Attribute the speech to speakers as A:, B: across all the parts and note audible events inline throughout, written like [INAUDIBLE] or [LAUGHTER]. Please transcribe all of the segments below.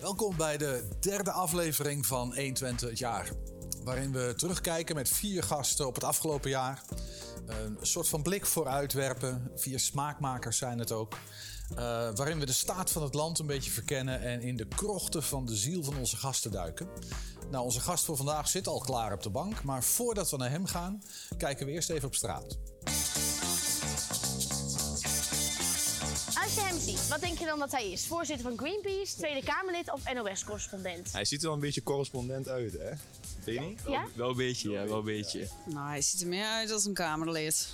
A: Welkom bij de derde aflevering van 120 het jaar. Waarin we terugkijken met vier gasten op het afgelopen jaar. Een soort van blik vooruit werpen. Vier smaakmakers zijn het ook. Eh, waarin we de staat van het land een beetje verkennen en in de krochten van de ziel van onze gasten duiken. Nou, onze gast voor vandaag zit al klaar op de bank. Maar voordat we naar hem gaan, kijken we eerst even op straat.
B: Als je hem ziet, wat denk je dan dat hij is? Voorzitter van Greenpeace, Tweede Kamerlid of NOS-correspondent?
C: Hij ziet er wel een beetje correspondent uit, hè? Vind je niet?
B: Ja?
D: Wel een beetje, ja, wel een beetje.
E: Nou, hij ziet er meer uit als een Kamerlid.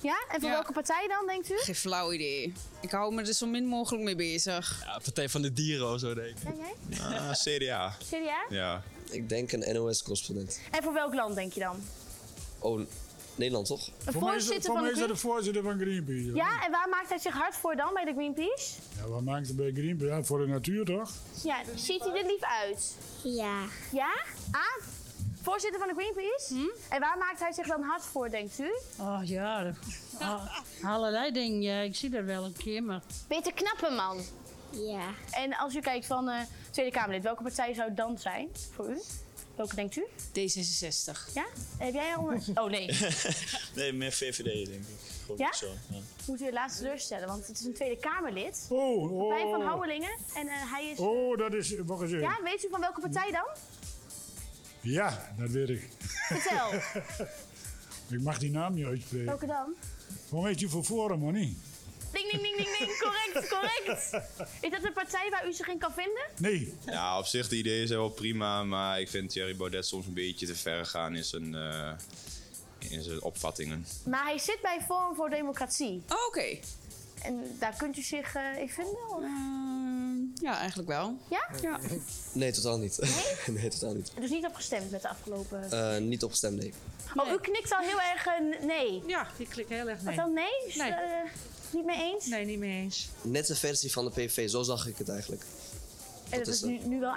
B: Ja? En voor
E: Ja.
B: welke partij dan, denkt u?
E: Geen flauw idee. Ik hou me er zo min mogelijk mee bezig.
D: Ja, Partij van de Dieren of zo, denk
B: [LAUGHS]
D: ik.
B: Denk jij?
C: Ah, CDA.
B: CDA?
C: Ja.
F: Ik denk een NOS-correspondent.
B: En voor welk land denk je dan?
F: Oh, Nederland toch?
B: Een
G: Voor mij is,
B: voorzitter
G: voor
B: van
G: mij is dat de
B: Greenpeace?
G: voorzitter van Greenpeace.
B: Ja, en waar maakt hij zich hard voor dan bij de Greenpeace?
G: Ja, wat maakt het bij Greenpeace? Ja, voor de natuur toch?
B: Ja, ziet hij er lief uit?
H: Ja,
B: Ja? Ah? Voorzitter van de Greenpeace? En waar maakt hij zich dan hard voor, denkt u?
I: Oh ja, dat- ah, allerlei dingen. Ja, ik zie dat wel een keer, maar
B: Peter Knappenman.
H: ja.
B: En als u kijkt van eh, Tweede Kamerlid, welke partij zou het dan zijn voor u? Welke denkt u?
E: D66.
B: Ja? Heb jij al een... Oh nee.
D: Nee, meer VVD, denk ik. Gewoon
B: Ja?
D: zo. Ja.
B: moet u helaas teleurstellen, want het is een Tweede Kamerlid.
G: Oh,
B: Wij van
G: oh.
B: Houwelingen. En eh, hij is.
G: Oh, dat is. Wacht eens even. Ja?
B: Ja, weet u van welke partij dan?
G: dat weet ik.
B: Vertel.
G: Ik mag die naam niet uitspreken.
B: welke dan?
G: Hoe heet je voor Forum, hoor niet?
B: Ding, ding, ding, ding, ding. Correct, correct. Is dat een partij waar u zich in kan vinden?
G: Nee.
C: Ja, op zich, de ideeën zijn wel prima, maar ik vind Thierry Baudet soms een beetje te ver gaan in zijn, eh, in zijn opvattingen.
B: Maar hij zit bij Forum voor Democratie.
E: Oh, Oké.
B: En daar kunt u zich eh, in vinden? of-
E: Ehm, ja, eigenlijk wel.
B: Ja?
F: Nee, totaal niet. [LAUGHS] Nee, totaal niet.
B: Dus niet op gestemd met de afgelopen.
F: Eh, niet opgestemd, nee.
B: Oh, u knikt al heel erg eh, n- nee.
I: ja, ik klik heel erg
B: Wat
I: nee.
B: dan nee? Is,
I: Nee.
B: eh, niet mee eens?
I: Nee, niet mee eens.
F: Nette versie van de PV, zo zag ik het eigenlijk.
B: en dat
F: is
B: is
F: het.
B: nu, nu wel